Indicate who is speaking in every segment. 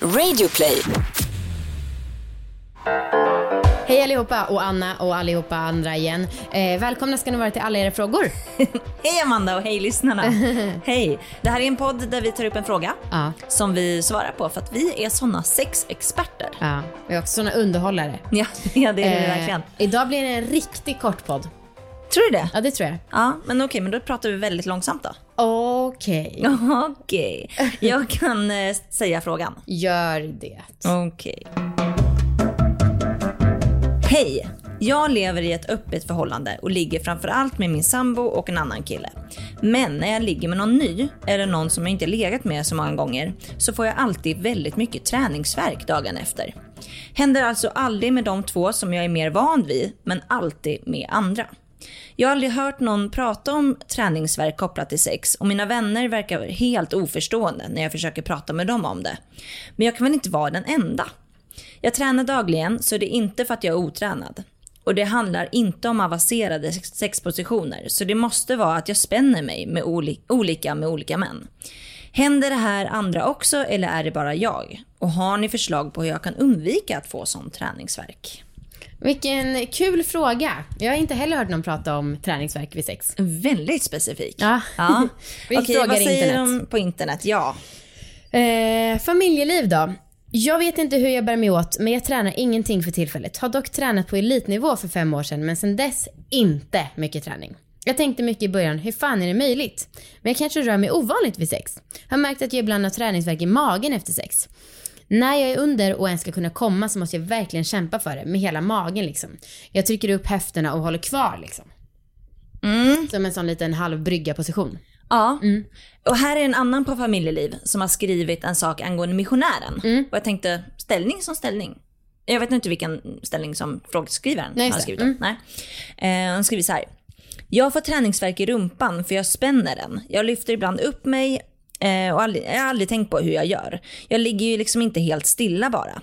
Speaker 1: Radioplay.
Speaker 2: Hej allihopa och Anna och allihopa andra igen. Eh, välkomna ska ni vara till alla era frågor.
Speaker 3: Hej Amanda och hej lyssnarna. hej. Det här är en podd där vi tar upp en fråga
Speaker 2: Ja.
Speaker 3: som vi svarar på för att vi är såna sexexperter.
Speaker 2: Ja, vi är också såna underhållare.
Speaker 3: Ja, ja det är vi
Speaker 2: Eh,
Speaker 3: verkligen.
Speaker 2: idag blir det en riktigt kort podd.
Speaker 3: Tror du det?
Speaker 2: Ja, det tror jag.
Speaker 3: Ja, men okej, men då pratar vi väldigt långsamt då.
Speaker 2: Okej,
Speaker 3: Okej. Jag kan eh, säga frågan.
Speaker 2: gör det.
Speaker 3: Okej. Hej! Jag lever i ett öppet förhållande och ligger framförallt med min sambo och en annan kille. Men när jag ligger med någon ny eller någon som jag inte legat med så många gånger så får jag alltid väldigt mycket träningsvärk dagen efter. Händer alltså aldrig med de två som jag är mer van vid, men alltid med andra. Jag har aldrig hört någon prata om träningsvärk kopplat till sex och mina vänner verkar helt oförstående när jag försöker prata med dem om det. Men jag kan väl inte vara den enda? Jag tränar dagligen så det är inte för att jag är otränad. Och det handlar inte om avancerade sex- sexpositioner så det måste vara att jag spänner mig med oli- olika med olika män. Händer det här andra också eller är det bara jag? Och har ni förslag på hur jag kan undvika att få sån träningsvärk?
Speaker 2: Vilken kul fråga. Jag har inte heller hört någon prata om träningsverk vid sex.
Speaker 3: Väldigt specifik.
Speaker 2: Ja.
Speaker 3: ja.
Speaker 2: Vi
Speaker 3: Okej,
Speaker 2: frågar
Speaker 3: vad säger
Speaker 2: internet.
Speaker 3: de på internet? Ja.
Speaker 2: Eh, familjeliv då? Jag vet inte hur jag bär mig åt, men jag tränar ingenting för tillfället. Har dock tränat på elitnivå för fem år sedan, men sedan dess inte mycket träning. Jag tänkte mycket i början, hur fan är det möjligt? Men jag kanske rör mig ovanligt vid sex. Har märkt att jag ibland har träningsvärk i magen efter sex. När jag är under och ens ska kunna komma så måste jag verkligen kämpa för det, med hela magen liksom. Jag trycker upp höfterna och håller kvar liksom. Som en sån liten halvbrygga position.
Speaker 3: Ja.
Speaker 2: Mm.
Speaker 3: Och här är en annan på familjeliv som har skrivit en sak angående missionären.
Speaker 2: Mm.
Speaker 3: Och jag tänkte, ställning som ställning. Jag vet inte vilken ställning som frågeskrivaren
Speaker 2: Nej, just
Speaker 3: har
Speaker 2: det.
Speaker 3: skrivit om. Nej. Eh, hon skriver så här. Jag får träningsvärk i rumpan för jag spänner den. Jag lyfter ibland upp mig eh, och aldrig, jag har aldrig tänkt på hur jag gör. Jag ligger ju liksom inte helt stilla bara.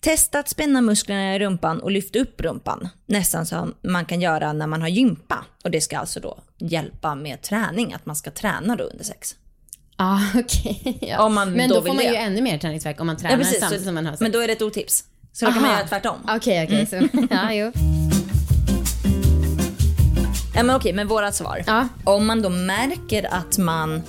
Speaker 3: Testa att spänna musklerna i rumpan och lyfta upp rumpan. Nästan som man kan göra när man har gympa. Och det ska alltså då hjälpa med träning, att man ska träna då under sex.
Speaker 2: Ah, okej. Ja.
Speaker 3: Om man
Speaker 2: men
Speaker 3: då
Speaker 2: då,
Speaker 3: vill
Speaker 2: får man
Speaker 3: det.
Speaker 2: ju ännu mer träningsvärk om man tränar
Speaker 3: Ja, precis.
Speaker 2: samtidigt
Speaker 3: Så-
Speaker 2: som man har sex.
Speaker 3: Men Mm. då är det ett otips. Så då kan man
Speaker 2: Aha.
Speaker 3: göra tvärtom.
Speaker 2: Okej, okej. så- Ja, jo.
Speaker 3: Ja, men okej, men vårat svar.
Speaker 2: Ja.
Speaker 3: Om man då märker att man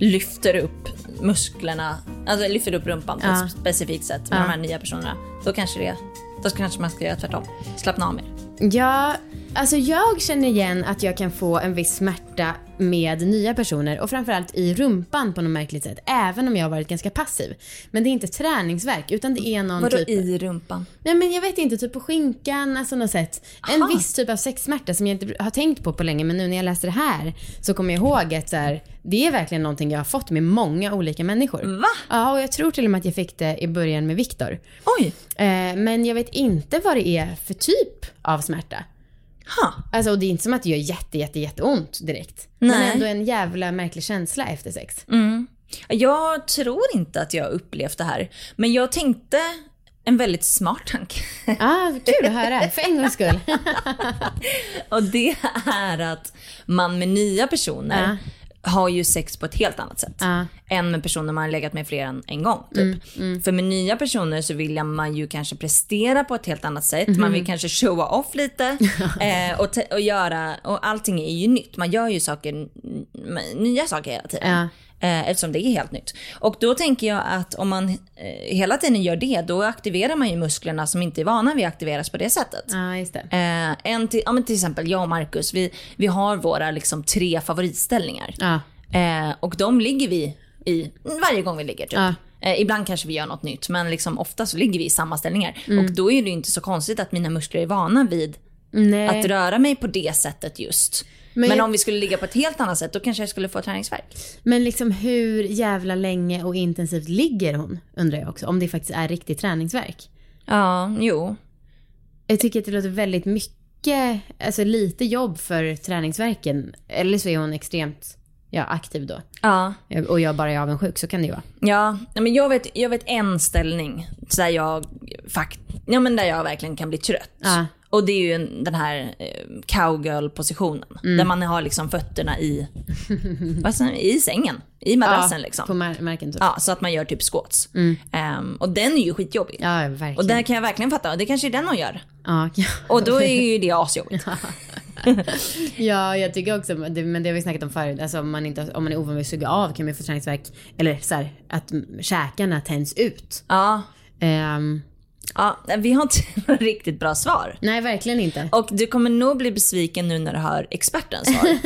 Speaker 3: lyfter upp musklerna, alltså lyfter upp rumpan på
Speaker 2: Ja.
Speaker 3: ett specifikt sätt med de här nya personerna, då kanske det då kanske man ska göra tvärtom. Slappna av mer.
Speaker 2: Ja, alltså jag känner igen att jag kan få en viss smärta med nya personer och framförallt i rumpan på något märkligt sätt. Även om jag har varit ganska passiv. Men det är inte träningsverk utan det är någon
Speaker 3: Vadå
Speaker 2: typ...
Speaker 3: i rumpan?
Speaker 2: Nej men jag vet inte, typ på skinkan, alltså något sätt. En
Speaker 3: Aha.
Speaker 2: viss typ av sexsmärta som jag inte har tänkt på på länge men nu när jag läser det här så kommer jag ihåg att så här, det är verkligen någonting jag har fått med många olika människor.
Speaker 3: Va?
Speaker 2: Ja och jag tror till och med att jag fick det i början med Viktor.
Speaker 3: Oj!
Speaker 2: Eh, men jag vet inte vad det är för typ av smärta.
Speaker 3: Ha.
Speaker 2: Alltså och det är inte som att det gör jätte, jätte, jätteont direkt. Men
Speaker 3: Nej. Mm.
Speaker 2: ändå en jävla märklig känsla efter sex.
Speaker 3: Jag tror inte att jag har upplevt det här, men jag tänkte en väldigt smart tanke.
Speaker 2: Ah, kul att höra, för en gångs skull.
Speaker 3: Och det är att man med nya personer har ju sex på ett helt annat sätt.
Speaker 2: Ja.
Speaker 3: Än med personer man har legat med fler än en gång. Typ. För med nya personer så vill man ju kanske prestera på ett helt annat sätt. Man vill kanske showa off lite. eh, och, te- och, göra, och allting är ju nytt. Man gör ju saker, n- nya saker hela tiden.
Speaker 2: Ja.
Speaker 3: Eh, eftersom det är helt nytt. Och då tänker jag att om man eh, hela tiden gör det, då aktiverar man ju musklerna som inte är vana vid att aktiveras på det sättet.
Speaker 2: Ja, just det.
Speaker 3: Eh, en till, ja, men till exempel jag och Marcus, vi, vi har våra liksom, tre favoritställningar.
Speaker 2: Ja.
Speaker 3: Eh, och de ligger vi i varje gång vi ligger. Typ.
Speaker 2: Ja.
Speaker 3: Eh, ibland kanske vi gör något nytt, men liksom, ofta så ligger vi i samma ställningar. Och då är det ju inte så konstigt att mina muskler är vana vid
Speaker 2: Nej.
Speaker 3: att röra mig på det sättet just.
Speaker 2: Men
Speaker 3: Eh. Men,
Speaker 2: jag-
Speaker 3: om vi skulle ligga på ett helt annat sätt, då kanske jag skulle få träningsvärk.
Speaker 2: Men liksom hur jävla länge och intensivt ligger hon? Undrar jag också. Om det faktiskt är riktig träningsverk.
Speaker 3: Ja, jo.
Speaker 2: Jag tycker att det låter väldigt mycket, alltså lite jobb för träningsverken. Eller så är hon extremt ja, aktiv då.
Speaker 3: Ja.
Speaker 2: Och jag bara är avundsjuk, så kan det ju vara.
Speaker 3: Ja, nej, men jag vet, jag vet en ställning där jag, fakt ja, men där jag verkligen kan bli trött.
Speaker 2: Ja.
Speaker 3: Och det är ju en- den här eh, cowgirl-positionen. Där man har liksom fötterna i, vad säger man, i sängen. I madrassen
Speaker 2: På
Speaker 3: liksom.
Speaker 2: mar- marken typ. Ja,
Speaker 3: Ja, så att man gör typ squats. Ehm, och den är ju skitjobbig.
Speaker 2: ja verkligen.
Speaker 3: Och där kan jag verkligen fatta, det kanske är den hon gör.
Speaker 2: ja, ja.
Speaker 3: Och då är ju det asjobbigt.
Speaker 2: ja, jag tycker också, men det men det har vi snackat om förut, alltså om man, inte, om man är ovan vid att suga av kan man ju få träningsvärk, eller så här, att m- käkarna tänds ut.
Speaker 3: Ja.
Speaker 2: Ehm,
Speaker 3: ja, vi har inte något riktigt bra svar.
Speaker 2: nej, verkligen inte.
Speaker 3: Och du kommer nog bli besviken nu när du hör expertens svar.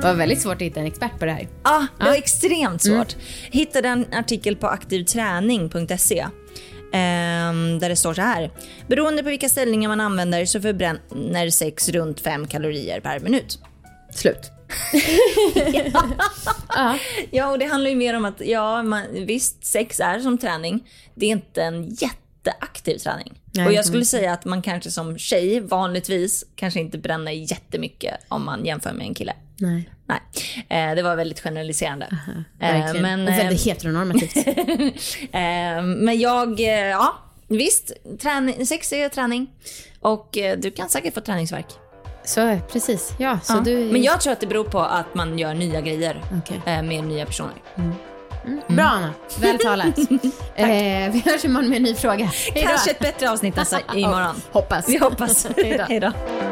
Speaker 2: Det var väldigt svårt att hitta en expert på det här.
Speaker 3: Ja, Ah, det
Speaker 2: Ah.
Speaker 3: var extremt
Speaker 2: Mm.
Speaker 3: svårt. Hittade en artikel på aktivträning.se ehm, där det står så här. Beroende på vilka ställningar man använder så förbränner sex runt 5 kalorier per minut.
Speaker 2: Slut.
Speaker 3: Ja, och det handlar ju mer om att ja, man, visst, sex är som träning. Det är inte en jätteaktiv träning.
Speaker 2: Nej,
Speaker 3: och
Speaker 2: det
Speaker 3: jag skulle säga att man kanske som tjej vanligtvis kanske inte bränner jättemycket om man jämför med en kille.
Speaker 2: Nej,
Speaker 3: Nej, eh, det var väldigt generaliserande. Eh,
Speaker 2: verkligen.
Speaker 3: men,
Speaker 2: och
Speaker 3: eh,
Speaker 2: väldigt heteronormativt.
Speaker 3: Eh, men jag, eh, ja visst, träning, sex är träning. Och eh, du kan säkert få träningsvärk.
Speaker 2: så, eh, precis. Ja, så
Speaker 3: Ja.
Speaker 2: du...
Speaker 3: Men jag tror att det beror på att man gör nya grejer
Speaker 2: Mm. Okej.
Speaker 3: eh, med nya personer.
Speaker 2: Bra Anna, väl talat. eh, vi hörs imorgon med en ny fråga. Hej då.
Speaker 3: Kanske ett bättre avsnitt alltså, imorgon.
Speaker 2: Hoppas.
Speaker 3: Vi hoppas.
Speaker 2: Hej då.
Speaker 3: Hej då.